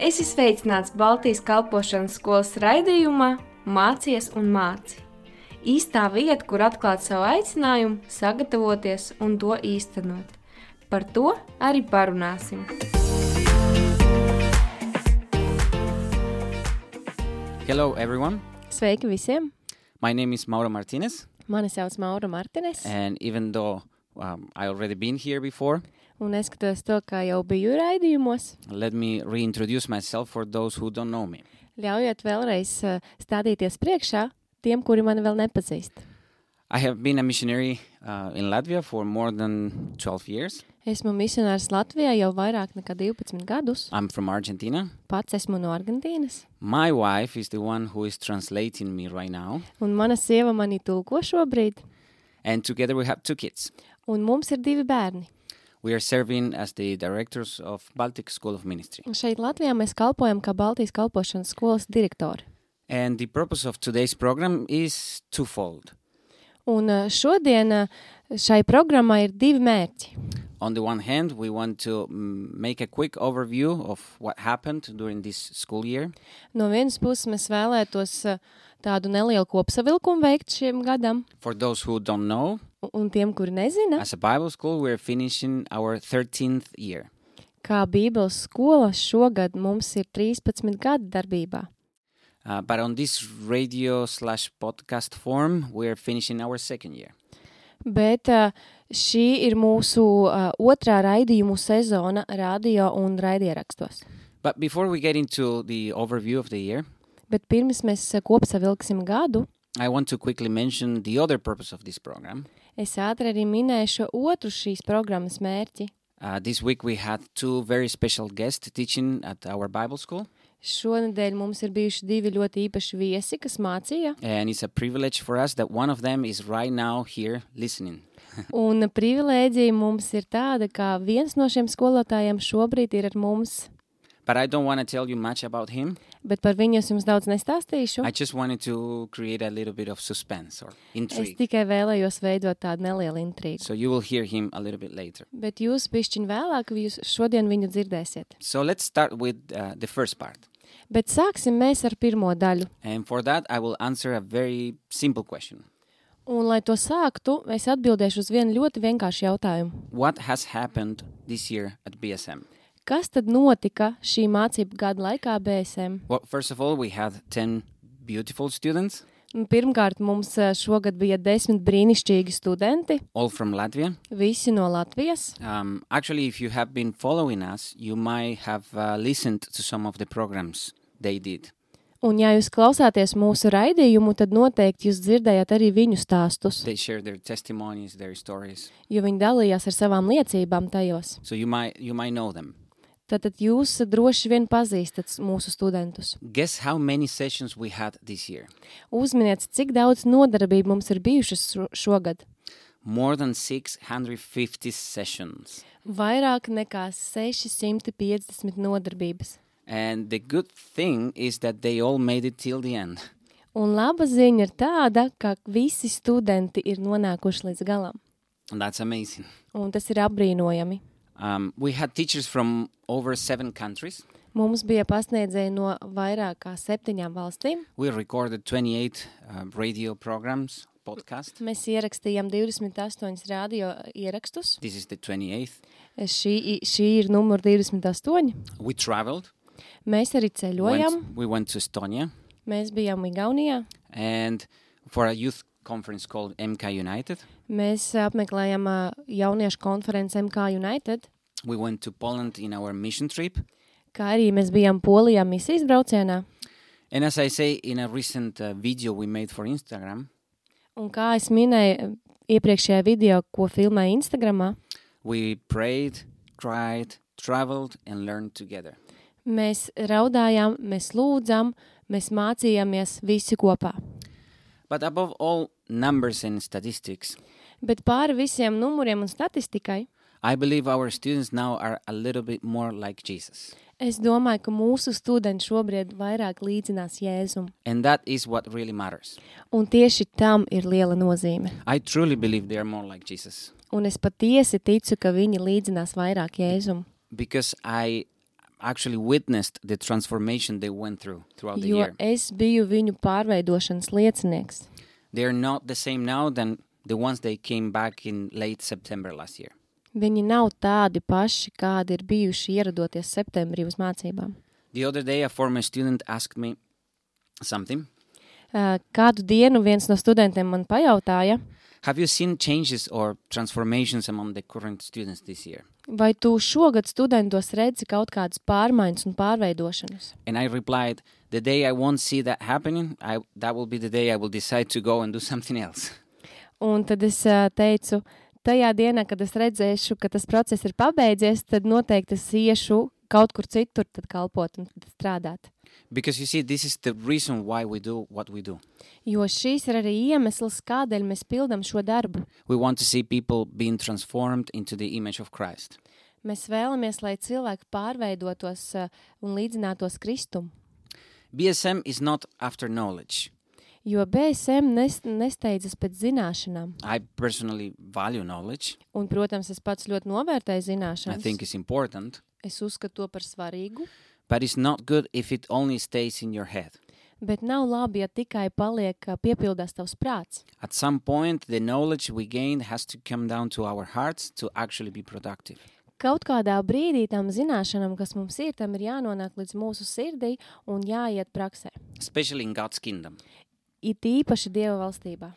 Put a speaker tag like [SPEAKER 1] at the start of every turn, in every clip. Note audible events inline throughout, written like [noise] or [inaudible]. [SPEAKER 1] Es esmu sveicināts Baltijas kalpošanas skolas raidījumā Mācies un māci. Īstā vieta, kur atklāt savu aicinājumu, sagatavoties un to īstenot. Par to arī parunāsim.
[SPEAKER 2] Hello, everyone.
[SPEAKER 3] Sveiki visiem!
[SPEAKER 2] My name is Mauro Martinez,
[SPEAKER 3] Mani sauc Maura Martinez,
[SPEAKER 2] and even though um, I already been here before,
[SPEAKER 3] un es skatos to, kā jau biju raidījumos.
[SPEAKER 2] let me reintroduce myself for those who don't know me.
[SPEAKER 3] Ļaujiet vēlreiz eh, stādīties priekšā tiem, kuri mani vēl nepazīst.
[SPEAKER 2] I have been a missionary uh, in Latvia for more than 12 years.
[SPEAKER 3] Esmu misionārs Latvijā jau vairāk nekā 12 gadus.
[SPEAKER 2] I'm from Argentina.
[SPEAKER 3] Pats esmu no Argentīnas,
[SPEAKER 2] My wife is the one who is translating me right now,
[SPEAKER 3] un mana sieva mani tulko šobrīd,
[SPEAKER 2] and together we have two kids.
[SPEAKER 3] un mums ir divi bērni.
[SPEAKER 2] We are serving as the directors of Baltic School of Ministry.
[SPEAKER 3] Un Šeit Latvijā mēs kalpojam kā Baltijas kalpošanas skolas direktori.
[SPEAKER 2] And the purpose of today's program is twofold.
[SPEAKER 3] Un eh, šodien eh, šai programmai ir divi mērķi.
[SPEAKER 2] On the one hand, we want to mm, make a quick overview of what happened during this school year.
[SPEAKER 3] No vienas puses mēs vēlētos eh, tādu nelielu kopsavilkumu veikt šiem gadam,
[SPEAKER 2] For those who don't know,
[SPEAKER 3] Un tiem, kuri nezina,
[SPEAKER 2] as a Bible school, we're finishing our 13th year.
[SPEAKER 3] kā Bībeles skola šogad mums ir 13 gadi darbībā,
[SPEAKER 2] Uh, but on this radio slash podcast form, we're finishing our second year.
[SPEAKER 3] bet ā, šī ir mūsu ā, otrā raidījumu sezona radio un raidierakstos.
[SPEAKER 2] But before we get into the overview of the year,
[SPEAKER 3] Bet pirms mēs ā, kopsavilksim gadu,
[SPEAKER 2] I want to quickly mention the other purpose of this program.
[SPEAKER 3] es ātri arī minēšu otru šīs programmas mērķi.
[SPEAKER 2] Uh, this week we had two very special guests teaching at our Bible school,
[SPEAKER 3] Šonadēļ mums ir bijuši divi ļoti īpaši viesi, kas mācīja,
[SPEAKER 2] and it's a privilege for us that one of them is right now here listening.
[SPEAKER 3] un privilēģija mums ir tāda, ka viens no šiem skolotājiem šobrīd ir ar mums,
[SPEAKER 2] But I don't want to tell you much about him.
[SPEAKER 3] bet par viņu es jums daudz nestāstīšu.
[SPEAKER 2] I just wanted to create a little bit of suspense or
[SPEAKER 3] Es
[SPEAKER 2] intrigue.
[SPEAKER 3] tikai vēlējos veidot tādu nelielu intrigu.
[SPEAKER 2] So you will hear him a little bit later.
[SPEAKER 3] Bet jūs pišķiņ vēlāk, jūs šodien viņu dzirdēsiet.
[SPEAKER 2] So let's start with uh, the first part.
[SPEAKER 3] Bet sāksim mēs ar pirmo daļu.
[SPEAKER 2] And for that, I will answer a very simple question
[SPEAKER 3] Un, lai to sāktu, es atbildēšu uz vienu ļoti vienkāršu jautājumu.
[SPEAKER 2] What has happened this year at BSM?
[SPEAKER 3] Kas tad notika šī mācību gada laikā BSM?
[SPEAKER 2] Well, first of all, we had 10 beautiful students,
[SPEAKER 3] Nu, Pirmkārt, mums eh, šogad bija desmit brīnišķīgi studenti,
[SPEAKER 2] all from Latvia.
[SPEAKER 3] visi no Latvijas.
[SPEAKER 2] Um, actually, if you have been following us, you might have uh, listened to some of the programs they did.
[SPEAKER 3] Un, ja jūs klausāties mūsu raidījumu, tad noteikti jūs dzirdējāt arī viņu stāstus,
[SPEAKER 2] They shared their testimonies, their stories.
[SPEAKER 3] jo viņi dalījās ar savām liecībām tajos.
[SPEAKER 2] So you might, you might know them.
[SPEAKER 3] Tātad jūs droši vien pazīstat s- mūsu studentus.
[SPEAKER 2] Guess how many sessions we had this year?
[SPEAKER 3] Uzminiet, cik daudz nodarbību mums ir bijušas šo- šogad.
[SPEAKER 2] More than 650 sessions.
[SPEAKER 3] Vairāk nekā 650 nodarbības.
[SPEAKER 2] And the good thing is that they all made it till the end. [laughs]
[SPEAKER 3] Un laba ziņa ir tāda, ka visi studenti ir nonākuši līdz galam.
[SPEAKER 2] And that's amazing.
[SPEAKER 3] Un tas ir apbrīnojami.
[SPEAKER 2] Um, we had teachers from over seven countries.
[SPEAKER 3] Mums bija pasniedzēji no vairāk kā septiņām valstīm.
[SPEAKER 2] We recorded 28 um, radio programs, podcast.
[SPEAKER 3] Mēs ierakstījām 28 radio ierakstus.
[SPEAKER 2] This is the 28th.
[SPEAKER 3] Šī, i- šī ir numur 28.
[SPEAKER 2] We traveled.
[SPEAKER 3] Mēs arī ceļojam.
[SPEAKER 2] Went, we went to Estonia
[SPEAKER 3] Mēs bijām Igaunijā.
[SPEAKER 2] and for a youth conference called MK United.
[SPEAKER 3] Mēs apmeklējām ā, jauniešu konferenci MK United,
[SPEAKER 2] We went to Poland in our mission trip.
[SPEAKER 3] kā arī mēs bijām Polijā misijas braucienā.
[SPEAKER 2] And as I say in a recent uh, video we made for Instagram,
[SPEAKER 3] Un kā es minēju iepriekšējā video, ko filmēju Instagramā,
[SPEAKER 2] we prayed, cried, traveled, and learned together.
[SPEAKER 3] mēs raudājām, mēs lūdzām, mēs mācījāmies visi kopā.
[SPEAKER 2] But above all numbers and statistics,
[SPEAKER 3] Bet pāri visiem numuriem un statistikai,
[SPEAKER 2] I believe our students now are a little bit more like Jesus.
[SPEAKER 3] es domāju, ka mūsu studenti šobrīd vairāk līdzinās Jēzum.
[SPEAKER 2] And that is what really matters.
[SPEAKER 3] Un tieši tam ir liela nozīme.
[SPEAKER 2] I truly believe they are more like Jesus
[SPEAKER 3] Un es patiesi ticu, ka viņi līdzinās vairāk Jēzum.
[SPEAKER 2] because I actually witnessed the transformation they went through throughout the
[SPEAKER 3] jo
[SPEAKER 2] year.
[SPEAKER 3] es biju viņu pārveidošanas liecinieks.
[SPEAKER 2] They are not the same now than the ones they came back in late September last year.
[SPEAKER 3] Viņi nav tādi paši, kādi ir bijuši ieradoties septembrī uz mācībām.
[SPEAKER 2] The other day, a former student asked me something.
[SPEAKER 3] Ā, Kādu dienu viens no studentiem man pajautāja,
[SPEAKER 2] Have you seen changes or transformations among the current students this year?
[SPEAKER 3] vai tu šogad studentos redzi kaut kādas pārmaiņas un pārveidošanas?
[SPEAKER 2] And I replied, The day I won't see that happening, I, that will be the day I will decide to go and do [laughs] something else.
[SPEAKER 3] Un tad es ā, teicu, tajā dienā, kad es redzēšu, ka tas process ir pabeidzies, tad noteikti es iešu kaut kur citur tad kalpot un tad strādāt.
[SPEAKER 2] Because you see, this is the reason why we do what we do.
[SPEAKER 3] Jo šīs ir arī iemesls, kādēļ mēs pildām šo darbu.
[SPEAKER 2] We want to see people being transformed into the image of Christ.
[SPEAKER 3] Mēs vēlamies, lai cilvēki pārveidotos ā, un līdzinātos Kristum.
[SPEAKER 2] BSM is not after knowledge.
[SPEAKER 3] Jo BSM nes, nesteidzas pēc zināšanām,
[SPEAKER 2] I personally value knowledge,
[SPEAKER 3] un, protams, es pats ļoti novērtēju
[SPEAKER 2] I think
[SPEAKER 3] zināšanas.
[SPEAKER 2] it's important,
[SPEAKER 3] Es uzskatu to par svarīgu,
[SPEAKER 2] but it's not good if it only stays in your head.
[SPEAKER 3] bet nav labi, ja tikai paliek ā, piepildās tavs prāts.
[SPEAKER 2] At some point, the knowledge we gain has to come down to our hearts to actually be productive.
[SPEAKER 3] Kaut kādā brīdī tam zināšanām, kas mums ir, tam ir jānonāk līdz mūsu sirdī un jāiet praksē.
[SPEAKER 2] especially in God's kingdom.
[SPEAKER 3] It īpaši Dieva valstībā.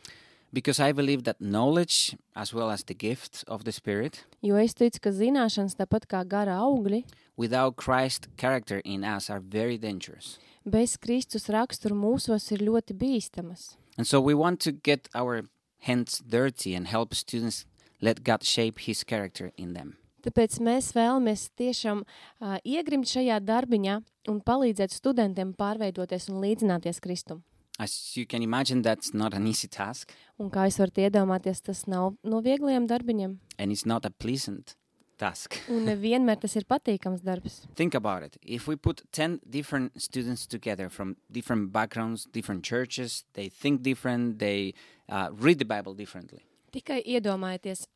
[SPEAKER 2] Because I believe that knowledge, as well as the gift of the Spirit,
[SPEAKER 3] Jo es ticu, ka zināšanas, tāpat kā gara augļi,
[SPEAKER 2] without Christ's character in us, are very dangerous.
[SPEAKER 3] bez Kristus rakstura mūsos ir ļoti bīstamas.
[SPEAKER 2] And so we want to get our hands dirty and help students let God shape His character in them.
[SPEAKER 3] Tāpēc mēs vēlamies tiešām uh, iegrimt šajā darbiņā un palīdzēt studentiem pārveidoties un līdzināties Kristum.
[SPEAKER 2] As you can imagine, that's not an easy task
[SPEAKER 3] Un kā jūs varat iedomāties, tas nav no viegliem darbiņiem.
[SPEAKER 2] and it's not a pleasant task.
[SPEAKER 3] Un nevienmēr tas ir patīkams darbs.
[SPEAKER 2] Think about it. If we put 10 different students together from different backgrounds, different churches, they think different, they uh, read the Bible differently.
[SPEAKER 3] Tikai iedomājieties,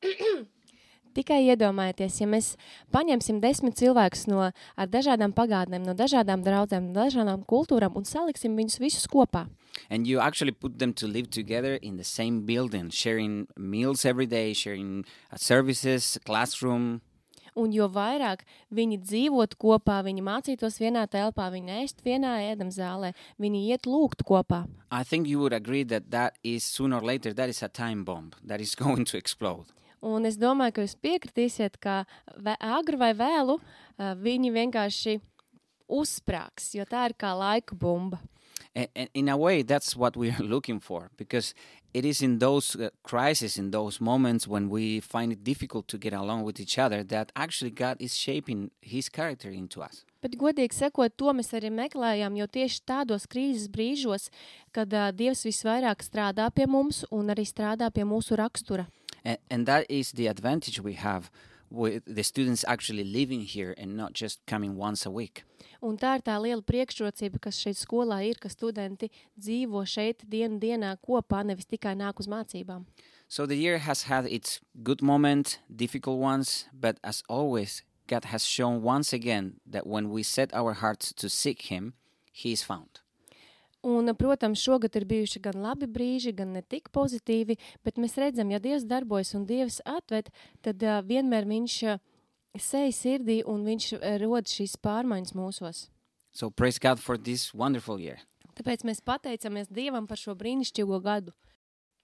[SPEAKER 3] [clears throat] tikai iedomājieties, ja mēs paņemsim desmit cilvēkus no ar dažādām pagātnēm, no dažādām draudzēm, no dažādām kultūrām un saliksim viņus visus kopā.
[SPEAKER 2] And you actually put them to live together in the same building, sharing meals every day, sharing uh, services, classroom.
[SPEAKER 3] Un jo vairāk viņi dzīvot kopā, viņi mācītos vienā telpā, viņi ēst vienā ēdamzālē, viņi iet lūgt kopā.
[SPEAKER 2] I think you would agree that that is sooner or later that is a time bomb that is [laughs] going to explode.
[SPEAKER 3] Un es domāju, ka jūs piekritīsiet, ka vē- agri vai vēlu ā, viņi vienkārši uzsprāgs, jo tā ir kā laika bumba.
[SPEAKER 2] And, and in a way, that's what we [laughs] are looking for because it is in those uh, crises, in those moments when we find it difficult to get along with each other, that actually God is shaping His character into us.
[SPEAKER 3] Bet, godīgi sakot, to mēs arī meklējām, jo tieši tādos krīzes brīžos, kad uh, Dievs visvairāk strādā pie mums un arī strādā pie mūsu rakstura.
[SPEAKER 2] And, and that is the advantage we have with the students actually living here and not just coming once a week.
[SPEAKER 3] Un tā ir tā liela priekšrocība, kas šeit skolā ir, ka studenti dzīvo šeit dienu dienā kopā, nevis tikai nāk uz mācībām.
[SPEAKER 2] So the year has had its good moments, difficult ones, but as always, God has shown once again that when we set our hearts to seek Him, He is found.
[SPEAKER 3] Un, protams, šogad ir bijuši gan labi brīži, gan ne tik pozitīvi, bet mēs redzam, ja Dievs darbojas un Dievs atved, tad uh, vienmēr Viņš uh, sēž sirdī un Viņš uh, rod šīs pārmaiņas mūsos.
[SPEAKER 2] So praise God for this wonderful year.
[SPEAKER 3] Tāpēc mēs pateicamies Dievam par šo brīnišķīgo gadu.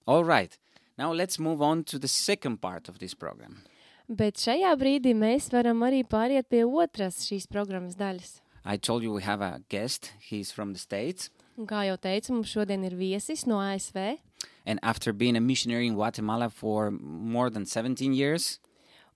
[SPEAKER 2] All right, now let's move on to the second part of this program.
[SPEAKER 3] Bet šajā brīdī mēs varam arī pāriet pie otras šīs programmas daļas.
[SPEAKER 2] I told you we have a guest, he's from the States.
[SPEAKER 3] Un kā jau teicu, mums šodien ir viesis no ASV,
[SPEAKER 2] And after being a missionary in Guatemala for more than 17 years,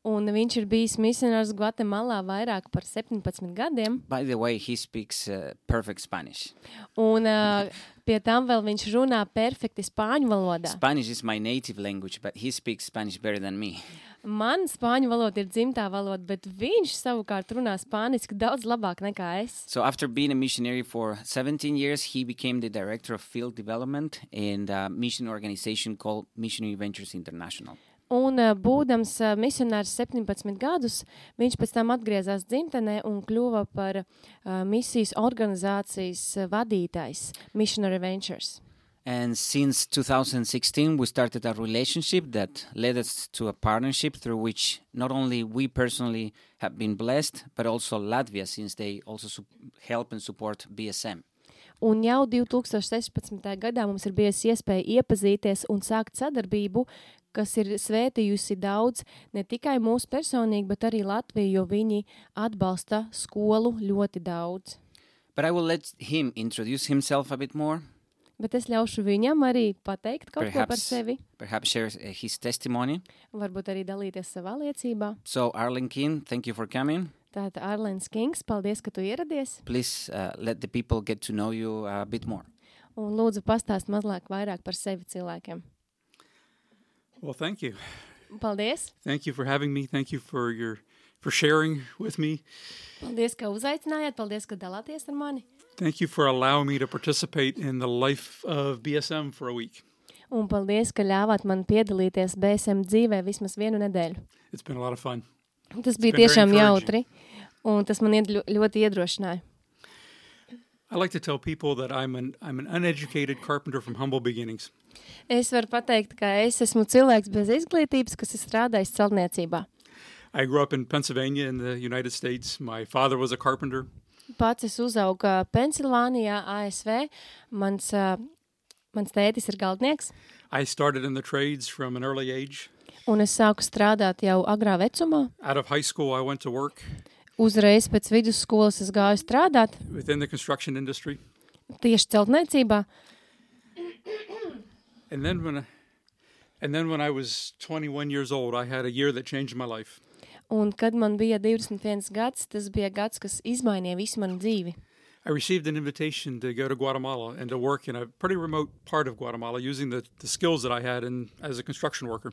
[SPEAKER 3] un viņš ir bijis misionārs Gvatemalā vairāk par 17 gadiem.
[SPEAKER 2] by the way, he speaks uh, perfect Spanish.
[SPEAKER 3] Un uh, pie tam vēl viņš runā perfekti spāņu valodā.
[SPEAKER 2] Spanish is my native language, but he speaks Spanish better than me.
[SPEAKER 3] Man spāņu valoda ir dzimtā valoda, bet viņš savukārt runā spāniski daudz labāk nekā es.
[SPEAKER 2] So after being a missionary for 17 years, he became the director of field development in a mission organization called Missionary Ventures International.
[SPEAKER 3] Un ā, būdams ā, misionārs 17 gadus, viņš pēc tam atgriezās dzimtenē un kļuva par ā, misijas organizācijas ā, vadītājs Missionary Ventures.
[SPEAKER 2] And since 2016, we started a relationship that led us to a partnership through which not only we personally have been blessed, but also Latvia, since they also su- help and support BSM.
[SPEAKER 3] Un jau 2016. gadā mums ir bijusi iespēja iepazīties un sākt sadarbību, kas ir svētījusi daudz ne tikai mūsu personīgi, bet arī Latviju, jo viņi atbalsta skolu ļoti daudz.
[SPEAKER 2] But I will let him introduce himself a bit more,
[SPEAKER 3] Bet es ļaušu viņam arī pateikt kaut ko par
[SPEAKER 2] perhaps,
[SPEAKER 3] sevi,
[SPEAKER 2] perhaps share uh, his testimony.
[SPEAKER 3] varbūt arī dalīties savā liecībā.
[SPEAKER 2] So, Arlen King, thank you for coming.
[SPEAKER 3] Tātad Arlēns Kings, paldies, ka tu ieradies.
[SPEAKER 2] Please uh, let the people get to know you a bit more.
[SPEAKER 3] Un lūdzu, pastāst mazliet vairāk par sevi cilvēkiem.
[SPEAKER 4] Well, thank you.
[SPEAKER 3] Paldies!
[SPEAKER 4] Thank you for having me. Thank you for your for sharing with me.
[SPEAKER 3] Paldies, ka uzaicinājāt, paldies, ka dalāties ar mani.
[SPEAKER 4] Thank you for allowing me to participate in the life of BSM for a week.
[SPEAKER 3] Un paldies, ka ļāvāt man piedalīties BSM dzīvē vismaz vienu nedēļu.
[SPEAKER 4] It's been a lot of fun.
[SPEAKER 3] Tas bija
[SPEAKER 4] been very
[SPEAKER 3] tiešām jautri,
[SPEAKER 4] encouraging.
[SPEAKER 3] un tas man iedļu- ļoti iedrošināja.
[SPEAKER 4] I like to tell people that I'm an I'm an uneducated carpenter from humble beginnings.
[SPEAKER 3] Es varu pateikt, ka es esmu cilvēks bez izglītības, kas ir strādājis celtniecībā.
[SPEAKER 4] I grew up in Pennsylvania in the United States. My father was a carpenter.
[SPEAKER 3] Pats es uzaugu ā, Pensilvānijā, ASV. Mans, ā, mans tētis ir galdnieks,
[SPEAKER 4] I started in the trades from an early age.
[SPEAKER 3] un es sāku strādāt jau agrā vecumā.
[SPEAKER 4] Out of high school, I went to work
[SPEAKER 3] Uzreiz pēc vidusskolas es gāju strādāt
[SPEAKER 4] within the construction industry.
[SPEAKER 3] tieši celtniecībā.
[SPEAKER 4] And then when I, and then when I was 21 years old, I had a year that changed my life.
[SPEAKER 3] Un kad man bija 21 gads, tas bija gads, kas izmainīja visu manu dzīvi.
[SPEAKER 4] I received an invitation to go to Guatemala and to work in a pretty remote part of Guatemala using the, the skills that I had in, as a construction worker.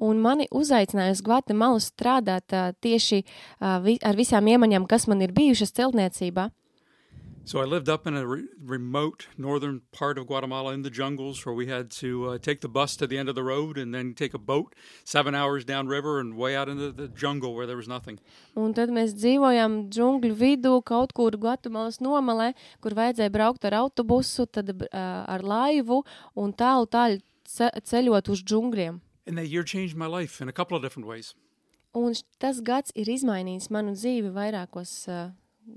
[SPEAKER 3] Un mani uzaicināja uz Gvatemalu strādāt ā, tieši ā, vi ar visām iemaņām, kas man ir bijušas celtniecībā.
[SPEAKER 4] So I lived up in a re- remote northern part of Guatemala in the jungles where we had to uh, take the bus to the end of the road and then take a boat seven hours downriver and way out into the jungle where there was nothing.
[SPEAKER 3] Un tad mēs dzīvojām džungļu vidū, kaut kur Gvatemalas nomalē, kur vajadzēja braukt ar autobusu, tad br- ā, ar laivu un tālu tālu ce- ceļot uz džungļiem.
[SPEAKER 4] And that year changed my life in a couple of different ways.
[SPEAKER 3] Un š- tas gads ir izmainījis manu dzīvi vairākos ā,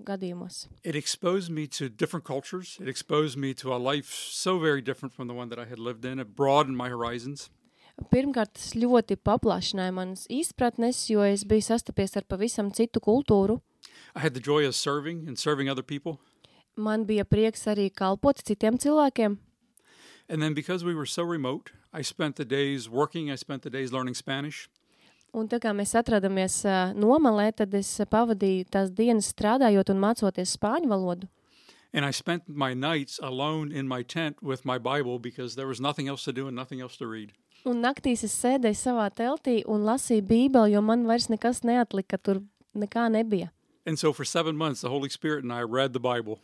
[SPEAKER 3] gadījumos.
[SPEAKER 4] It exposed me to different cultures. It exposed me to a life so very different from the one that I had lived in. It broadened my horizons.
[SPEAKER 3] Pirmkārt, tas ļoti paplašināja manas izpratnes, jo es biju sastapies ar pavisam citu kultūru.
[SPEAKER 4] I had the joy of serving and serving other people.
[SPEAKER 3] Man bija prieks arī kalpot citiem cilvēkiem.
[SPEAKER 4] And then because we were so remote, I spent the days working, I spent the days learning Spanish.
[SPEAKER 3] Un tā kā mēs atrodamies ā, nomalē, tad es ā, pavadīju tās dienas strādājot un mācoties spāņu valodu.
[SPEAKER 4] And I spent my nights alone in my tent with my Bible because there was nothing else to do and nothing else to read.
[SPEAKER 3] Un naktīs es sēdēju savā teltī un lasīju Bībeli, jo man vairs nekas neatlika, tur nekā nebija.
[SPEAKER 4] And so for seven months, the Holy Spirit and I read the Bible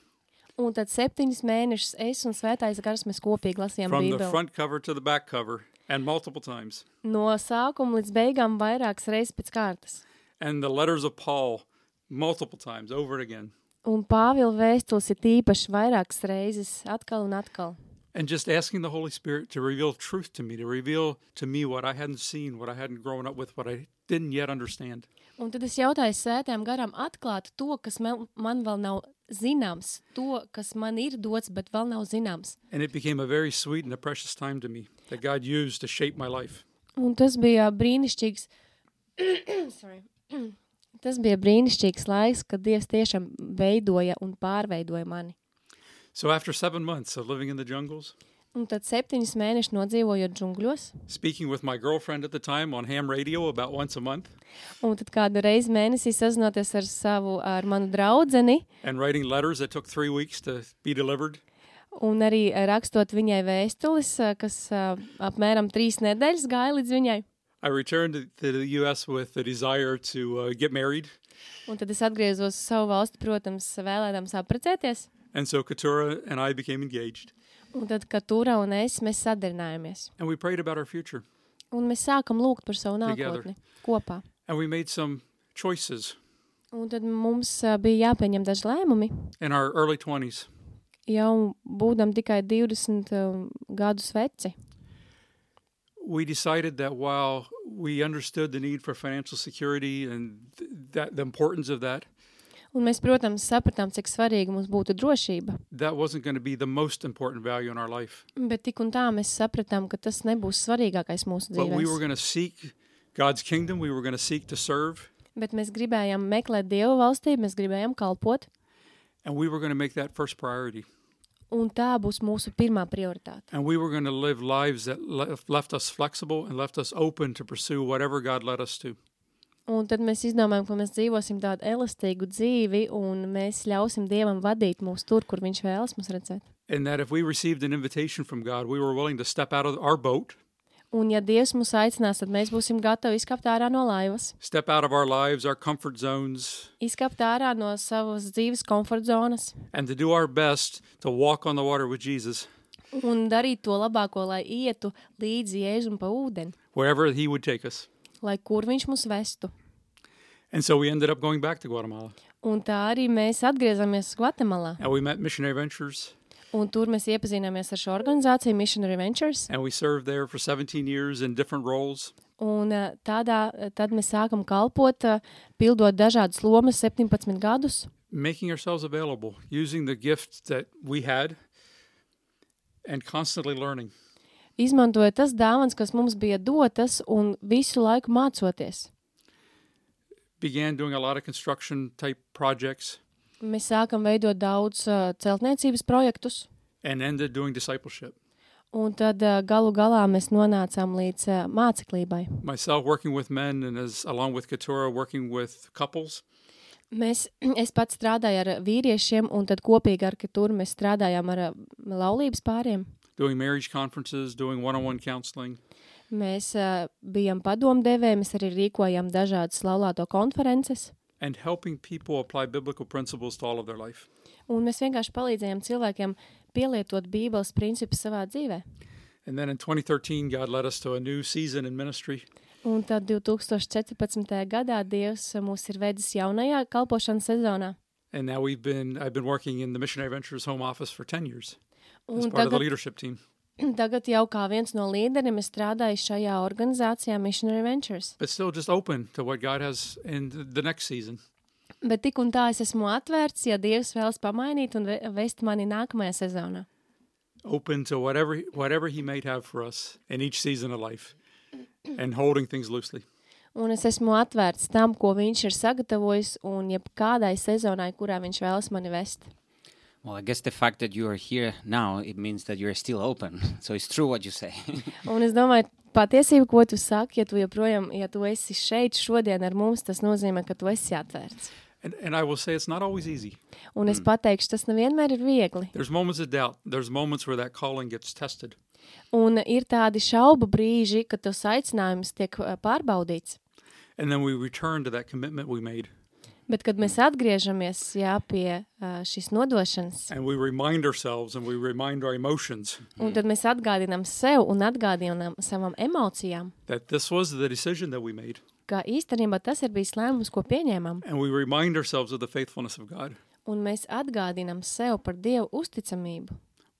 [SPEAKER 3] Un tad septiņus mēnešus es un Svētais Gars mēs kopīgi lasījām
[SPEAKER 4] from the
[SPEAKER 3] Bībeli.
[SPEAKER 4] front cover to the back cover and multiple times.
[SPEAKER 3] No sākuma līdz beigām vairākas reizes pēc kārtas.
[SPEAKER 4] And the letters of Paul multiple times over and again.
[SPEAKER 3] Un Pāvila vēstules ir īpaši vairākas reizes, atkal un atkal.
[SPEAKER 4] And just asking the Holy Spirit to reveal truth to me, to reveal to me what I hadn't seen, what I hadn't grown up with, what I didn't yet understand.
[SPEAKER 3] Un tad es jautāju svētām garam atklāt to, kas man, man vēl nav zināms, to, kas man ir dots, bet vēl nav zināms.
[SPEAKER 4] And it became a very sweet and a precious time to me that God used to shape my life.
[SPEAKER 3] Un tas bija brīnišķīgs. [coughs] Sorry. [coughs] tas bija brīnišķīgs laiks, kad Dievs tiešām veidoja un pārveidoja mani.
[SPEAKER 4] So after seven months of living in the jungles,
[SPEAKER 3] Un tad septiņus mēnešus nodzīvojot džungļos,
[SPEAKER 4] speaking with my girlfriend at the time on ham radio about once a month,
[SPEAKER 3] un tad kādu reizi mēnesī sazinoties ar savu, ar manu draudzeni,
[SPEAKER 4] and writing letters that took three weeks to be delivered,
[SPEAKER 3] Un arī eh, rakstot viņai vēstules, eh, kas eh, apmēram trīs nedēļas gāja līdz viņai.
[SPEAKER 4] I returned to- to the U.S. with the desire to uh, get married.
[SPEAKER 3] Un tad es atgriezos uz savu valsti, protams, vēlēdams apprecēties.
[SPEAKER 4] And so Katura and I became engaged,
[SPEAKER 3] Un tad, kad Tūra un es mēs sadarinājāmies,
[SPEAKER 4] and we prayed about our future.
[SPEAKER 3] Un mēs sākam lūgt par savu
[SPEAKER 4] Together.
[SPEAKER 3] nākotni kopā.
[SPEAKER 4] And we made some choices
[SPEAKER 3] Un tad mums ā, bija jāpieņem daži lēmumi.
[SPEAKER 4] in our early 20s.
[SPEAKER 3] Jau būdam tikai 20 um, gadus veci,
[SPEAKER 4] We decided that while we understood the need for financial security and th- that the importance of that,
[SPEAKER 3] un mēs, protams, sapratām, cik svarīga mums būtu drošība.
[SPEAKER 4] that wasn't going to be the most important value in our life.
[SPEAKER 3] Bet tik un tā mēs sapratām, ka tas nebūs svarīgākais mūsu
[SPEAKER 4] But we
[SPEAKER 3] dzīvēm.
[SPEAKER 4] were going to seek God's kingdom, we were going to seek to serve,
[SPEAKER 3] Bet mēs gribējām meklēt Dieva valstību, mēs gribējām kalpot,
[SPEAKER 4] and we were going to make that first priority.
[SPEAKER 3] un tā būs mūsu pirmā prioritāte.
[SPEAKER 4] And we were going to live lives that lef- left us flexible and left us open to pursue whatever God led us to.
[SPEAKER 3] Un tad mēs izdomājām, ka mēs dzīvosim tādu elastīgu dzīvi, un mēs ļausim Dievam vadīt mūs tur, kur Viņš vēlas mums redzēt.
[SPEAKER 4] And that if we received an invitation from God, we were willing to step out of our boat,
[SPEAKER 3] Un, ja Dievs mūs aicinās, tad mēs būsim gatavi izkāpt ārā no laivas,
[SPEAKER 4] step out of our lives, our comfort zones,
[SPEAKER 3] izkāpt ārā no savas dzīves komforta zonas
[SPEAKER 4] and to do our best to walk on the water with Jesus,
[SPEAKER 3] un darīt to labāko, lai ietu līdzi jēzum pa ūdeni,
[SPEAKER 4] wherever He would take us.
[SPEAKER 3] lai kur Viņš mūs vestu.
[SPEAKER 4] And so we ended up going back to Guatemala,
[SPEAKER 3] Un tā arī mēs atgriezāmies Gvatemalā,
[SPEAKER 4] and we met Missionary Ventures,
[SPEAKER 3] un tur mēs iepazināmies ar šo organizāciju Missionary Ventures,
[SPEAKER 4] and we served there for 17 years in different roles.
[SPEAKER 3] un ā, tādā, ā, tad mēs sākam kalpot, ā, pildot dažādas lomas 17 gadus,
[SPEAKER 4] making ourselves available, using the gift that we had, and constantly learning.
[SPEAKER 3] izmantojot tas dāvans, kas mums bija dotas, un visu laiku mācoties.
[SPEAKER 4] Began doing a lot of construction type projects
[SPEAKER 3] Mēs sākam veidot daudz uh, celtniecības projektus,
[SPEAKER 4] and ended doing discipleship.
[SPEAKER 3] un tad uh, galu galā mēs nonācām līdz uh, māceklībai.
[SPEAKER 4] Myself working with men and as along with Katura working with couples.
[SPEAKER 3] Mēs, es pats strādāju ar vīriešiem, un tad kopīgi ar Katuru mēs strādājām ar uh, laulības pāriem.
[SPEAKER 4] Doing marriage conferences, doing one on one counseling,
[SPEAKER 3] Mēs uh, bijām padomdevēji, mēs arī rīkojām dažādas laulāto konferences,
[SPEAKER 4] and helping people apply biblical principles to all of their life.
[SPEAKER 3] un mēs vienkārši palīdzējām cilvēkiem pielietot Bībeles principus savā dzīvē.
[SPEAKER 4] And then in 2013, God led us to a new season in ministry,
[SPEAKER 3] Un tad 2014. gadā Dievs uh, mūs ir vedis jaunajā kalpošanas sezonā.
[SPEAKER 4] and now we've been I've been working in the Missionary Ventures Home Office for 10 years as
[SPEAKER 3] Un
[SPEAKER 4] part of the
[SPEAKER 3] tagad,
[SPEAKER 4] leadership team.
[SPEAKER 3] tagad jau kā viens no līderiem es strādāju šajā organizācijā Missionary Ventures.
[SPEAKER 4] but still just open to what God has in th- the next season.
[SPEAKER 3] Bet tik un tā es esmu atvērts, ja Dievs vēlas pamainīt un ve- vest mani nākamajā sezonā.
[SPEAKER 4] Open to whatever whatever He might have for us in each season of life, and holding things loosely.
[SPEAKER 3] Un es esmu atvērts tam, ko viņš ir sagatavojis, un jebkādai sezonai, kurā viņš vēlas mani vest.
[SPEAKER 2] Well, I guess the fact that you are here now it means that you're still open. [laughs] So it's true what you say.
[SPEAKER 3] Un es domāju, patiesība, ko tu saki, ja tu joprojām, ja tu esi šeit šodien ar mums, tas nozīmē, ka tu esi atvērts.
[SPEAKER 4] And and I will say it's not always easy.
[SPEAKER 3] Un es pateikšu, tas nevienmēr ir viegli.
[SPEAKER 4] There's moments of doubt. There's moments where that calling gets tested.
[SPEAKER 3] Un ir tādi šaubu brīži, kad tas aicinājums tiek eh, pārbaudīts.
[SPEAKER 4] And then we return to that commitment we made,
[SPEAKER 3] Bet, kad mēs atgriežamies jā, pie eh, šīs nodošanas,
[SPEAKER 4] and we remind ourselves, and we remind our emotions
[SPEAKER 2] Mm.
[SPEAKER 3] un tad mēs atgādinām sev un atgādinām savām emocijām,
[SPEAKER 4] that this was the decision that we made,
[SPEAKER 3] ka īstenībā tas ir bijis lēmums, ko pieņēmām.
[SPEAKER 4] and we remind ourselves of the faithfulness of God.
[SPEAKER 3] Un mēs atgādinām sev par Dievu uzticamību.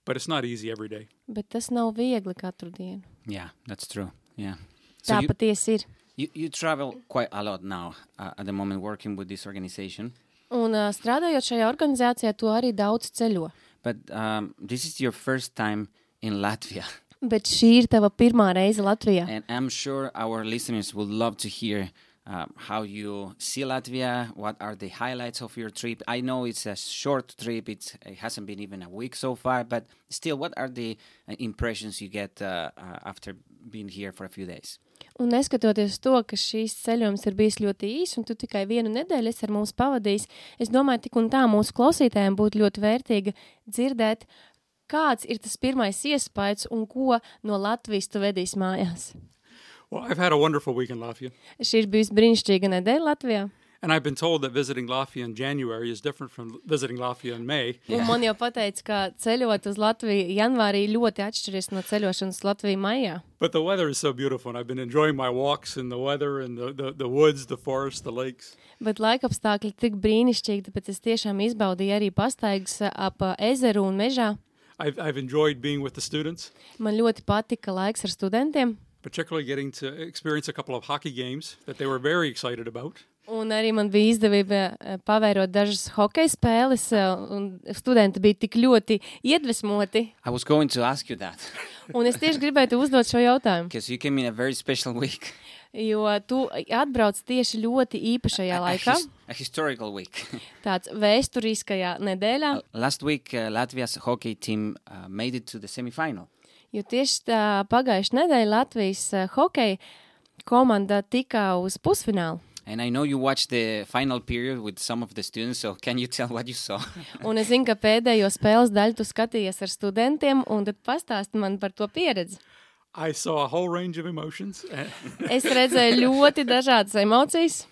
[SPEAKER 4] But it's not easy every day.
[SPEAKER 3] Bet tas nav viegli katru dienu.
[SPEAKER 2] yeah, that's true. Yeah. So
[SPEAKER 3] Tā
[SPEAKER 2] you,
[SPEAKER 3] patiesi ir.
[SPEAKER 2] you, you travel quite a lot now uh, at the moment working with this organization.
[SPEAKER 3] Un uh, strādājot šajā organizācijā, to arī daudz ceļo.
[SPEAKER 2] But um, this is your first time in Latvia.
[SPEAKER 3] Bet šī ir tava pirmā reize Latvijā.
[SPEAKER 2] And I'm sure our listeners would love to hear um, how you see Latvia. What are the highlights of your trip? I know it's a short trip; it's, it hasn't been even a week so far. But still, what are the uh, impressions you get uh, uh, after being here for a few days?
[SPEAKER 3] Un neskatoties to, ka šīs ceļojums ir bijis ļoti īss, un tu tikai vienu nedēļu esi ar mums pavadījis, es domāju, tik un tā mūsu klausītājiem būtu ļoti vērtīgi dzirdēt, kāds ir tas pirmais iespējas un ko no Latvijas tu vedīs mājās.
[SPEAKER 4] Well, I've had a wonderful week in Lafayette,
[SPEAKER 3] Šī ir bijusi brīnišķīga nedēļa Latvijā,
[SPEAKER 4] And I've been told that visiting Latvia in January is different from visiting Latvia in May.
[SPEAKER 3] Un man jau pateica, ka ceļot uz Latviju janvārī ļoti atšķiras no ceļošanas Latvijā maijā.
[SPEAKER 4] But the weather is so beautiful, and I've been enjoying my walks in the weather and the, the, the woods, the forests, the lakes.
[SPEAKER 3] Bet laika apstākļi tik brīnišķīgi, tāpēc es tiešām izbaudīju arī pastaigas ap ā, ezeru un mežā.
[SPEAKER 4] I've, I've enjoyed being with the students,
[SPEAKER 3] Man ļoti patika laiks ar studentiem.
[SPEAKER 4] particularly getting to experience a couple of hockey games that they were very excited about.
[SPEAKER 3] Un arī man bija izdevība eh, pavērot dažas hokeja spēles, eh, un studenti bija tik ļoti iedvesmoti.
[SPEAKER 2] I was going to ask you that [laughs]
[SPEAKER 3] Un es tieši gribēju tev uzdot šo jautājumu,
[SPEAKER 2] because you came in a very special week,
[SPEAKER 3] jo tu atbrauc tieši ļoti īpašajā
[SPEAKER 2] a,
[SPEAKER 3] laikā,
[SPEAKER 2] his- a historical week. [laughs]
[SPEAKER 3] tāds vēsturiskajā nedēļā,
[SPEAKER 2] Last week, uh, Latvia's hockey team uh, made it to the semifinal.
[SPEAKER 3] jo tieši tā pagājušā nedēļa Latvijas eh, hokeja komanda tika uz pusfinālu.
[SPEAKER 2] And I know you watched the final period with some of the students, so can you [laughs] tell what you saw?
[SPEAKER 3] Un es zinu, ka pēdējo spēles daļu tu skatījies ar studentiem, un tad pastāsti man par to pieredzi.
[SPEAKER 4] I saw a whole range of emotions, [laughs] a,
[SPEAKER 3] Es redzēju ļoti dažādas emocijas.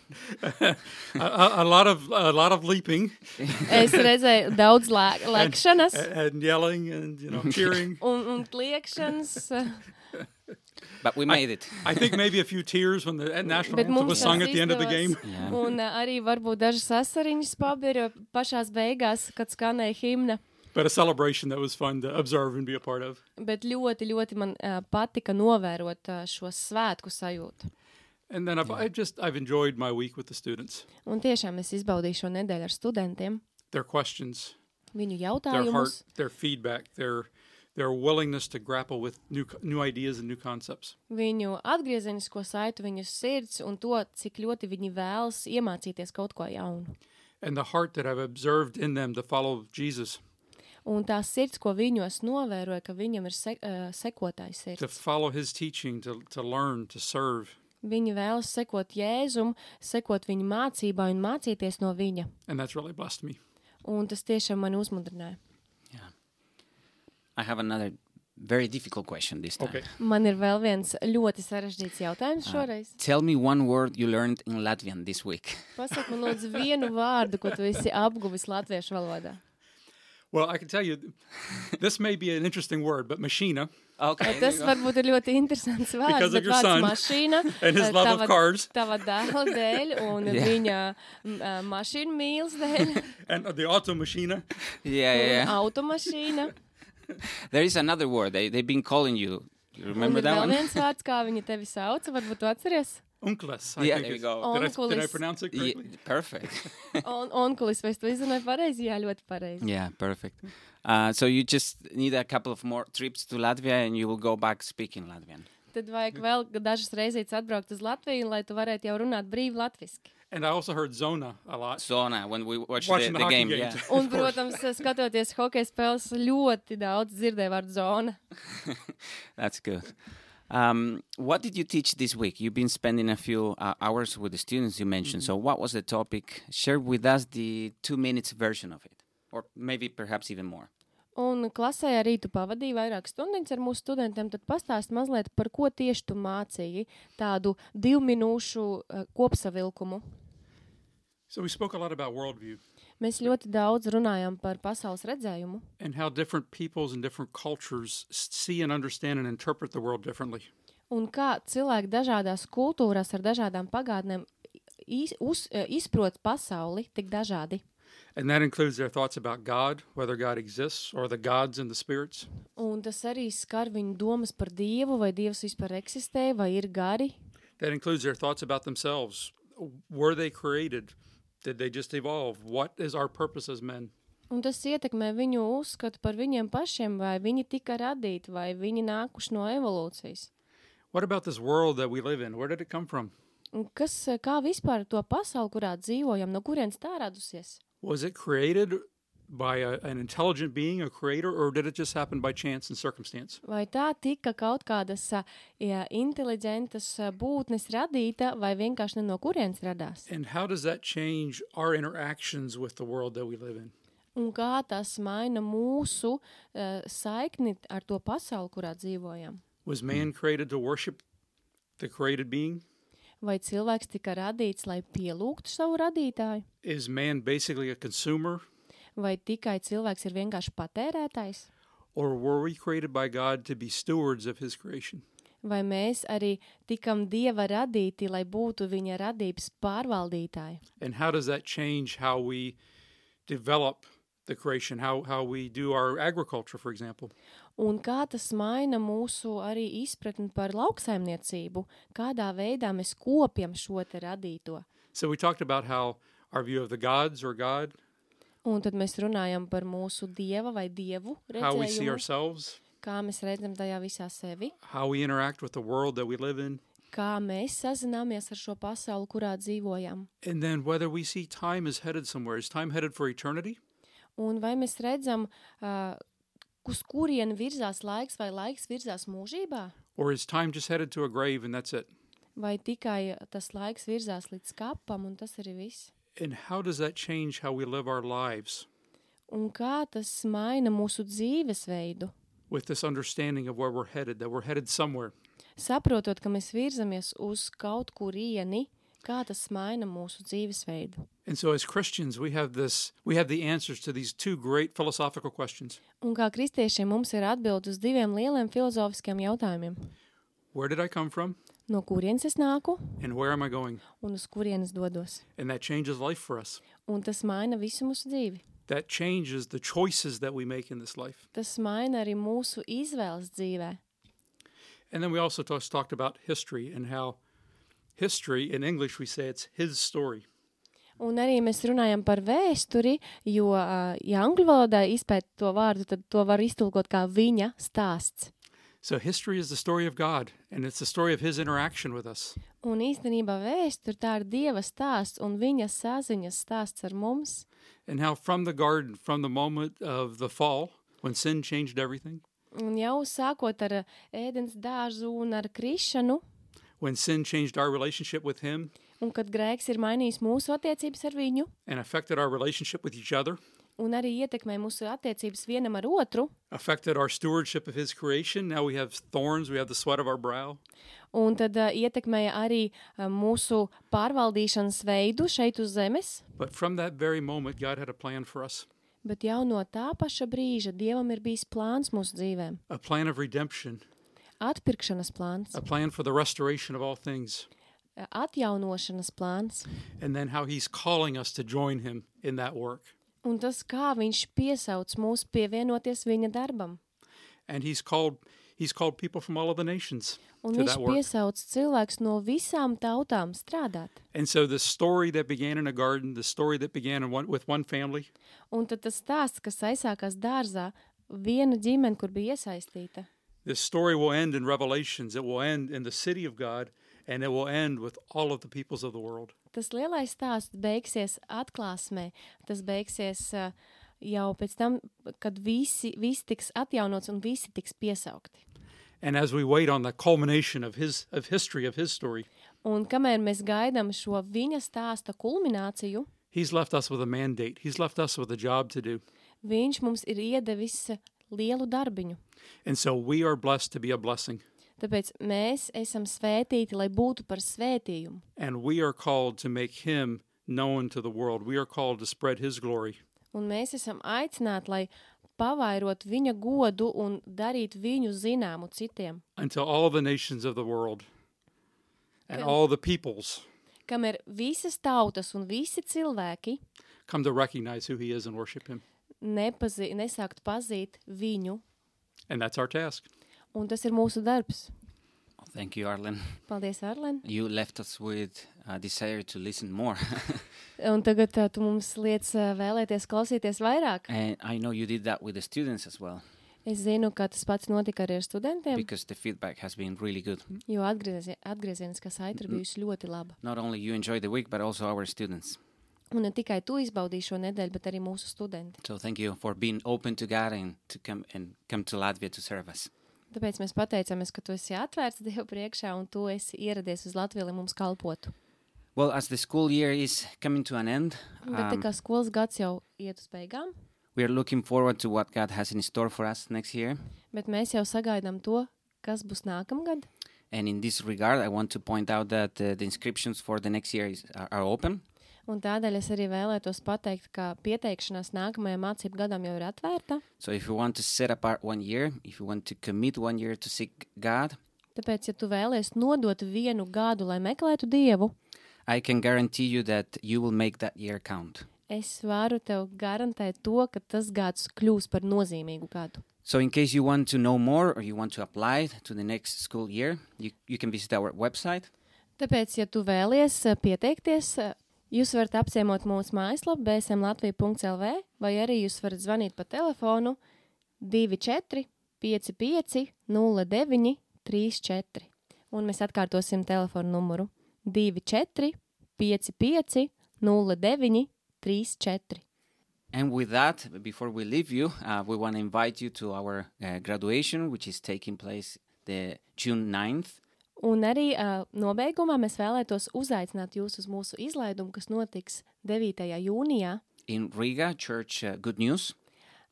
[SPEAKER 4] a, a lot of a lot of leaping
[SPEAKER 3] Es redzēju daudz lē- lēkšanas
[SPEAKER 4] a- and yelling and you know cheering.
[SPEAKER 3] un, un kliekšanas.
[SPEAKER 2] but we made it.
[SPEAKER 4] I think maybe a few tears when the national
[SPEAKER 3] Bet
[SPEAKER 4] anthem
[SPEAKER 3] mums
[SPEAKER 4] was
[SPEAKER 3] tas
[SPEAKER 4] sung at the end of the game.
[SPEAKER 3] izdevās. Un ā, arī varbūt dažas asariņas pabira pašās beigās, kad skanēja himna.
[SPEAKER 4] But a celebration that was fun to observe and be a part of.
[SPEAKER 3] Bet ļoti, ļoti man ā, patika novērot ā, šo svētku sajūtu.
[SPEAKER 4] And then I've, I just I've enjoyed my week with the students.
[SPEAKER 3] Un tiešām es izbaudīju šo nedēļu ar studentiem.
[SPEAKER 4] Their questions,
[SPEAKER 3] Viņu
[SPEAKER 2] Oh,
[SPEAKER 4] their heart,
[SPEAKER 3] jautājumus,
[SPEAKER 4] their feedback, their their willingness to grapple with new co- new ideas and new concepts.
[SPEAKER 3] viņu atgriezenisko saiti, viņu sirds un to, cik ļoti viņi vēlas iemācīties kaut ko jaunu.
[SPEAKER 4] And the heart that I've observed in them to follow Jesus,
[SPEAKER 3] Un tā sirds, ko viņos novēroja, ka viņam ir se uh, sekotājs
[SPEAKER 4] to
[SPEAKER 3] sirds.
[SPEAKER 4] follow his teaching, to, to learn, to serve.
[SPEAKER 3] Viņi vēlas sekot Jēzum, sekot viņa mācībai un mācīties no viņa.
[SPEAKER 4] And that's really blessed me.
[SPEAKER 3] Un tas tiešām mani uzmundrināja.
[SPEAKER 2] I have another very difficult question this time.
[SPEAKER 4] Okay.
[SPEAKER 3] Man ir vēl viens ļoti sarežģīts jautājums
[SPEAKER 4] Ah.
[SPEAKER 3] šoreiz.
[SPEAKER 2] Tell me one word you learned in Latvian this week.
[SPEAKER 3] Pasak man, lūdzu, vienu vārdu, ko tu esi apguvis latviešu valodā.
[SPEAKER 4] Well, I can tell you, this may be an interesting word, but machina
[SPEAKER 2] Okay.
[SPEAKER 3] Tas varbūt ir ļoti interesants vārds.
[SPEAKER 4] Because of
[SPEAKER 3] Bet
[SPEAKER 4] your
[SPEAKER 3] vārds
[SPEAKER 4] son
[SPEAKER 3] mašīna,
[SPEAKER 4] [laughs] and his
[SPEAKER 3] eh,
[SPEAKER 4] love of
[SPEAKER 3] tava-
[SPEAKER 4] cars.
[SPEAKER 3] Tava dēla dēļ
[SPEAKER 4] [laughs]
[SPEAKER 3] un yeah. viņa m, eh, mašīna mīlas dēļ,
[SPEAKER 4] and the auto machina.
[SPEAKER 2] [laughs] yeah, yeah, yeah.
[SPEAKER 3] automašīna.
[SPEAKER 2] There is another word they, they've been calling you. You
[SPEAKER 3] Un
[SPEAKER 2] remember
[SPEAKER 3] ir
[SPEAKER 2] that
[SPEAKER 3] vēl
[SPEAKER 2] one? [laughs]
[SPEAKER 3] viens vārds, kā viņa tevi sauca, varbūt tu atceries.
[SPEAKER 4] Uncles. I
[SPEAKER 2] Yeah,
[SPEAKER 4] think
[SPEAKER 2] there you
[SPEAKER 4] is-
[SPEAKER 2] go.
[SPEAKER 4] Did I, did I
[SPEAKER 3] Unculis.
[SPEAKER 4] pronounce it
[SPEAKER 2] Ye-
[SPEAKER 4] correctly?
[SPEAKER 2] perfect. [laughs]
[SPEAKER 3] Un, onkulis, vai es to izrunāju pareizi? Jā, ļoti pareizi.
[SPEAKER 2] yeah, perfect. Uh, so you just need a couple of more trips to Latvia and you will go back speaking Latvian.
[SPEAKER 3] Tad vajag vēl dažas reizes atbraukt uz Latviju, lai tu varētu jau runāt brīvi latviski.
[SPEAKER 4] And I also heard zona a lot.
[SPEAKER 2] So now, when we watch the,
[SPEAKER 4] Watching
[SPEAKER 2] the,
[SPEAKER 4] the hockey
[SPEAKER 2] game,
[SPEAKER 4] games.
[SPEAKER 2] yeah.
[SPEAKER 3] Un, protams, skatoties hokeja spēles, ļoti daudz dzirdēju vārdu zona.
[SPEAKER 2] That's good. Um, what did you teach this week? You've been spending a few uh, hours with the students you mentioned. So, what was the topic? Share with us the two minutes version of it, or maybe perhaps even more.
[SPEAKER 3] Un klasē arī tu pavadīji vairākas stundas ar mūsu studentiem. Tad pastāsti mazliet par ko tieši tu mācīji tādu divu minūšu eh, kopsavilkumu.
[SPEAKER 4] So we spoke a lot about worldview
[SPEAKER 3] Mēs ļoti daudz runājam par pasaules redzējumu
[SPEAKER 4] and how different peoples and different cultures s- see and understand and interpret the world differently.
[SPEAKER 3] un kā cilvēki dažādās kultūrās ar dažādām pagātnēm iz, uz, eh, izprot pasauli tik dažādi.
[SPEAKER 4] And that includes their thoughts about God, whether God exists, or the gods and the spirits.
[SPEAKER 3] Un tas arī skar viņu domas par dievu, vai dievs vispār eksistē, vai ir gari.
[SPEAKER 4] That includes their thoughts about themselves. Were they created? Did they just evolve? What is our purpose as men?
[SPEAKER 3] Un tas ietekmē viņu uzskatu par viņiem pašiem, vai viņi tika radīti, vai viņi nākuši no evolūcijas.
[SPEAKER 4] What about this world that we live in? Where did it come from?
[SPEAKER 3] Un Kas, e, kā vispār to pasauli, kurā dzīvojam, no kurienes tā radusies?
[SPEAKER 4] Was it created by a, an intelligent being, a creator, or did it just happen by chance and circumstance?
[SPEAKER 3] Vai tā tika kaut kādas ā, jā, inteliģentas ā, būtnes radīta, vai vienkārši ne no kurienes radās?
[SPEAKER 4] And how does that change our interactions with the world that we live in?
[SPEAKER 3] Un kā tas maina mūsu ā, saikni ar to pasauli, kurā dzīvojam?
[SPEAKER 4] Was man created to worship the created being?
[SPEAKER 3] vai cilvēks tika radīts, lai pielūgtu savu radītāju,
[SPEAKER 4] Is man basically a consumer,
[SPEAKER 3] vai tikai cilvēks ir vienkārši patērētājs,
[SPEAKER 4] or were we created by God to be stewards of His creation?
[SPEAKER 3] vai mēs arī tikam dieva radīti, lai būtu viņa radības pārvaldītāji.
[SPEAKER 4] And how does that change how we develop the creation, how, how we do our agriculture, for example?
[SPEAKER 3] Un kā tas maina mūsu arī izpratni par lauksaimniecību, kādā veidā mēs kopjam šo te radīto.
[SPEAKER 4] So we talked about how our view of the gods or God,
[SPEAKER 3] Un tad mēs runājam par mūsu dieva vai dievu
[SPEAKER 4] how we see
[SPEAKER 3] redzējumu,
[SPEAKER 4] ourselves,
[SPEAKER 3] kā mēs redzam tajā visā sevi,
[SPEAKER 4] how we interact with the world that we live in,
[SPEAKER 3] kā mēs sazināmies ar šo pasauli, kurā dzīvojam.
[SPEAKER 4] and then whether we see time is headed somewhere. Is time headed for eternity?
[SPEAKER 3] Un vai mēs redzam, uh, uz kurien virzās laiks, vai laiks virzās mūžībā,
[SPEAKER 4] Or is time just headed to a grave and that's it?
[SPEAKER 3] vai tikai tas laiks virzās līdz kapam, un tas arī viss.
[SPEAKER 4] And how does that change how we live our lives
[SPEAKER 3] Un kā tas maina mūsu dzīvesveidu?
[SPEAKER 4] with this understanding of where we're headed, that we're headed somewhere?
[SPEAKER 3] Saprotot, ka mēs virzamies uz kaut kurieni, kā tas maina mūsu dzīvesveidu.
[SPEAKER 4] And so as Christians, we have this we have the answers to these two great philosophical questions.
[SPEAKER 3] Un kā kristiešiem mums ir atbildes uz diviem lieliem filozofiskiem jautājumiem.
[SPEAKER 4] Where did I come from
[SPEAKER 3] No kurienes es nāku
[SPEAKER 4] and where am I going?
[SPEAKER 3] un uz kurienes dodos?
[SPEAKER 4] And that changes life for us.
[SPEAKER 3] Un tas maina visu mūsu dzīvi.
[SPEAKER 4] That changes the choices that we make in this life.
[SPEAKER 3] Tas maina arī mūsu izvēles dzīvē.
[SPEAKER 4] And then we also talks- talked about history and how history in English we say it's his story.
[SPEAKER 3] Un arī mēs runājam par vēsturi, jo, ā, ja angļu valodā izpēt to vārdu, tad to var iztulkot kā viņa stāsts.
[SPEAKER 4] So history is the story of God and it's the story of his interaction with us.
[SPEAKER 3] Un īstenībā vēsture tā ir Dieva stāsts un viņa saziņas stāsts ar mums.
[SPEAKER 4] And how from the garden, from the moment of the fall, when sin changed everything,
[SPEAKER 3] Un jau sākot ar ā, ēdienas dārzu un ar krišanu,
[SPEAKER 4] when sin changed our relationship with him
[SPEAKER 3] un kad grēks ir mainījis mūsu attiecības ar viņu,
[SPEAKER 4] and affected our relationship with each other,
[SPEAKER 3] un arī ietekmē mūsu attiecības vienam ar otru,
[SPEAKER 4] affected our stewardship of his creation. Now we have thorns, we have the sweat of our brow.
[SPEAKER 3] un tad ā, ietekmēja arī ā, mūsu pārvaldīšanas veidu šeit uz zemes.
[SPEAKER 4] But from that very moment, God had a plan for us
[SPEAKER 3] Bet jau no tā paša brīža Dievam ir bijis plāns mūsu dzīvēm,
[SPEAKER 4] a plan of redemption,
[SPEAKER 3] atpirkšanas plāns,
[SPEAKER 4] a plan for the restoration of all things,
[SPEAKER 3] atjaunošanas plāns.
[SPEAKER 4] and then how he's calling us to join him in that work.
[SPEAKER 3] Un tas, kā viņš piesauc mūs pievienoties viņa darbam.
[SPEAKER 4] And he's called he's called people from all of the nations
[SPEAKER 3] Un
[SPEAKER 4] to
[SPEAKER 3] viņš
[SPEAKER 4] that work.
[SPEAKER 3] piesauc cilvēks no visām tautām strādāt.
[SPEAKER 4] And so the story that began in a garden, the story that began in one, with one family,
[SPEAKER 3] Un tad tas stāsts, kas aizsākās dārzā, viena ģimene, kur bija iesaistīta.
[SPEAKER 4] this story will end in Revelations. It will end in the city of God, and it will end with all of the peoples of the world.
[SPEAKER 3] Tas lielais stāsts beigsies atklāsmē. Tas beigsies ā, jau pēc tam, kad visi, visi tiks atjaunots un visi tiks piesaukti.
[SPEAKER 4] And as we wait on the culmination of his of history of his story,
[SPEAKER 3] Un kamēr mēs gaidām šo viņa stāsta kulmināciju,
[SPEAKER 4] he's left us with a mandate. He's left us with a job to do.
[SPEAKER 3] viņš mums ir iedevis ā, lielu darbiņu.
[SPEAKER 4] And so we are blessed to be a blessing.
[SPEAKER 3] Tāpēc mēs esam svētīti, lai būtu par svētījumu.
[SPEAKER 4] And we are called to make him known to the world. We are called to spread his glory.
[SPEAKER 3] Un mēs esam aicināti, lai pavairot viņa godu un darīt viņu zināmu citiem.
[SPEAKER 4] until all the nations of the world and all the peoples
[SPEAKER 3] Kamēr visas tautas un visi cilvēki
[SPEAKER 4] come to recognize who he is and worship him.
[SPEAKER 3] nepazi, nesākt pazīt viņu,
[SPEAKER 4] And that's our task.
[SPEAKER 3] un tas ir mūsu darbs.
[SPEAKER 2] Oh, thank you, Arlen.
[SPEAKER 3] Paldies, Arlen!
[SPEAKER 2] You left us with a desire to listen more. [laughs]
[SPEAKER 3] Un tagad ā, tu mums liec ā, vēlēties klausīties vairāk.
[SPEAKER 2] and I know you did that with the students as well,
[SPEAKER 3] Es zinu, ka tas pats notika arī ar studentiem,
[SPEAKER 2] because the feedback has been really good.
[SPEAKER 3] jo atgriezie- atgriezieniskā saite ir bijusi ļoti laba.
[SPEAKER 2] Not only you enjoyed the week, but also our students.
[SPEAKER 3] Un ne tikai tu izbaudīji šo nedēļu, bet arī mūsu studenti.
[SPEAKER 2] So thank you for being open to God and to come and come to Latvia to serve us.
[SPEAKER 3] Tāpēc mēs pateicamies, ka tu esi atvērts [laughs] Dieva priekšā un tu esi ieradies uz Latviju, lai mums kalpotu.
[SPEAKER 2] Well, as the school year is coming to an end,
[SPEAKER 3] Un Tad, tā
[SPEAKER 2] um,
[SPEAKER 3] kā skolas gads jau iet uz beigām,
[SPEAKER 2] we are looking forward to what God has in store for us next year.
[SPEAKER 3] bet mēs jau sagaidām to, kas būs nākamgad.
[SPEAKER 2] And in this regard, I want to point out that uh, the inscriptions for the next year is, are, are open.
[SPEAKER 3] Un tādēļ es arī vēlētos pateikt, ka pieteikšanās nākamajam mācību gadam jau ir atvērta.
[SPEAKER 2] So if you want to set apart one year, if you want to commit one year to seek God,
[SPEAKER 3] Tāpēc, ja tu vēlies nodot vienu gadu, lai meklētu dievu,
[SPEAKER 2] I can guarantee you that you will make that year count.
[SPEAKER 3] es varu tev garantēt to, ka tas gads kļūs par nozīmīgu gadu.
[SPEAKER 2] So in case you want to know more or you want to apply to the next school year, you, you can visit our website.
[SPEAKER 3] Tāpēc, ja tu vēlies eh, pieteikties, eh, jūs varat apciemot mūsu mājaslapu bsmlatvija.lv vai arī jūs varat zvanīt pa telefonu 24 55 09 34. Un mēs atkārtosim telefonu numuru 24 55 09 34.
[SPEAKER 2] And with that, before we leave you, uh, we want to invite you to our uh, graduation, which is taking place the June 9th.
[SPEAKER 3] Un arī uh, nobeigumā mēs vēlētos uzaicināt jūs uz mūsu izlaidumu, kas notiks 9. jūnijā
[SPEAKER 2] in Riga Church uh, Good News.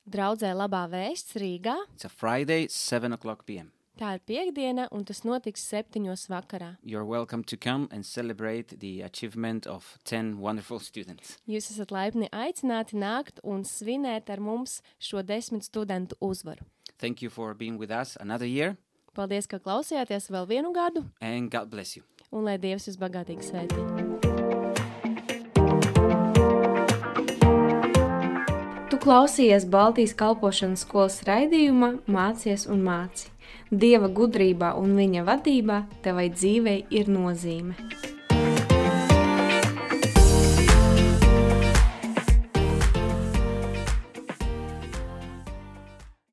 [SPEAKER 3] draudzē Labā Vēsts Rīgā.
[SPEAKER 2] It's a Friday, 7 o'clock p.m.
[SPEAKER 3] Tā ir piekdiena, un tas notiks septiņos vakarā.
[SPEAKER 2] You're welcome to come and celebrate the achievement of 10 wonderful [laughs] students.
[SPEAKER 3] Jūs esat laipni aicināti nākt un svinēt ar mums šo desmit studentu uzvaru.
[SPEAKER 2] Thank you for being with us another year,
[SPEAKER 3] Paldies, ka klausījāties vēl vienu gadu,
[SPEAKER 2] and God bless you.
[SPEAKER 3] un lai Dievs jūs bagātīgi svētī!
[SPEAKER 1] Tu klausies Baltijas kalpošanas skolas raidījumā, mācies un māci. Dieva gudrībā un viņa vadībā tevai dzīvei ir nozīme.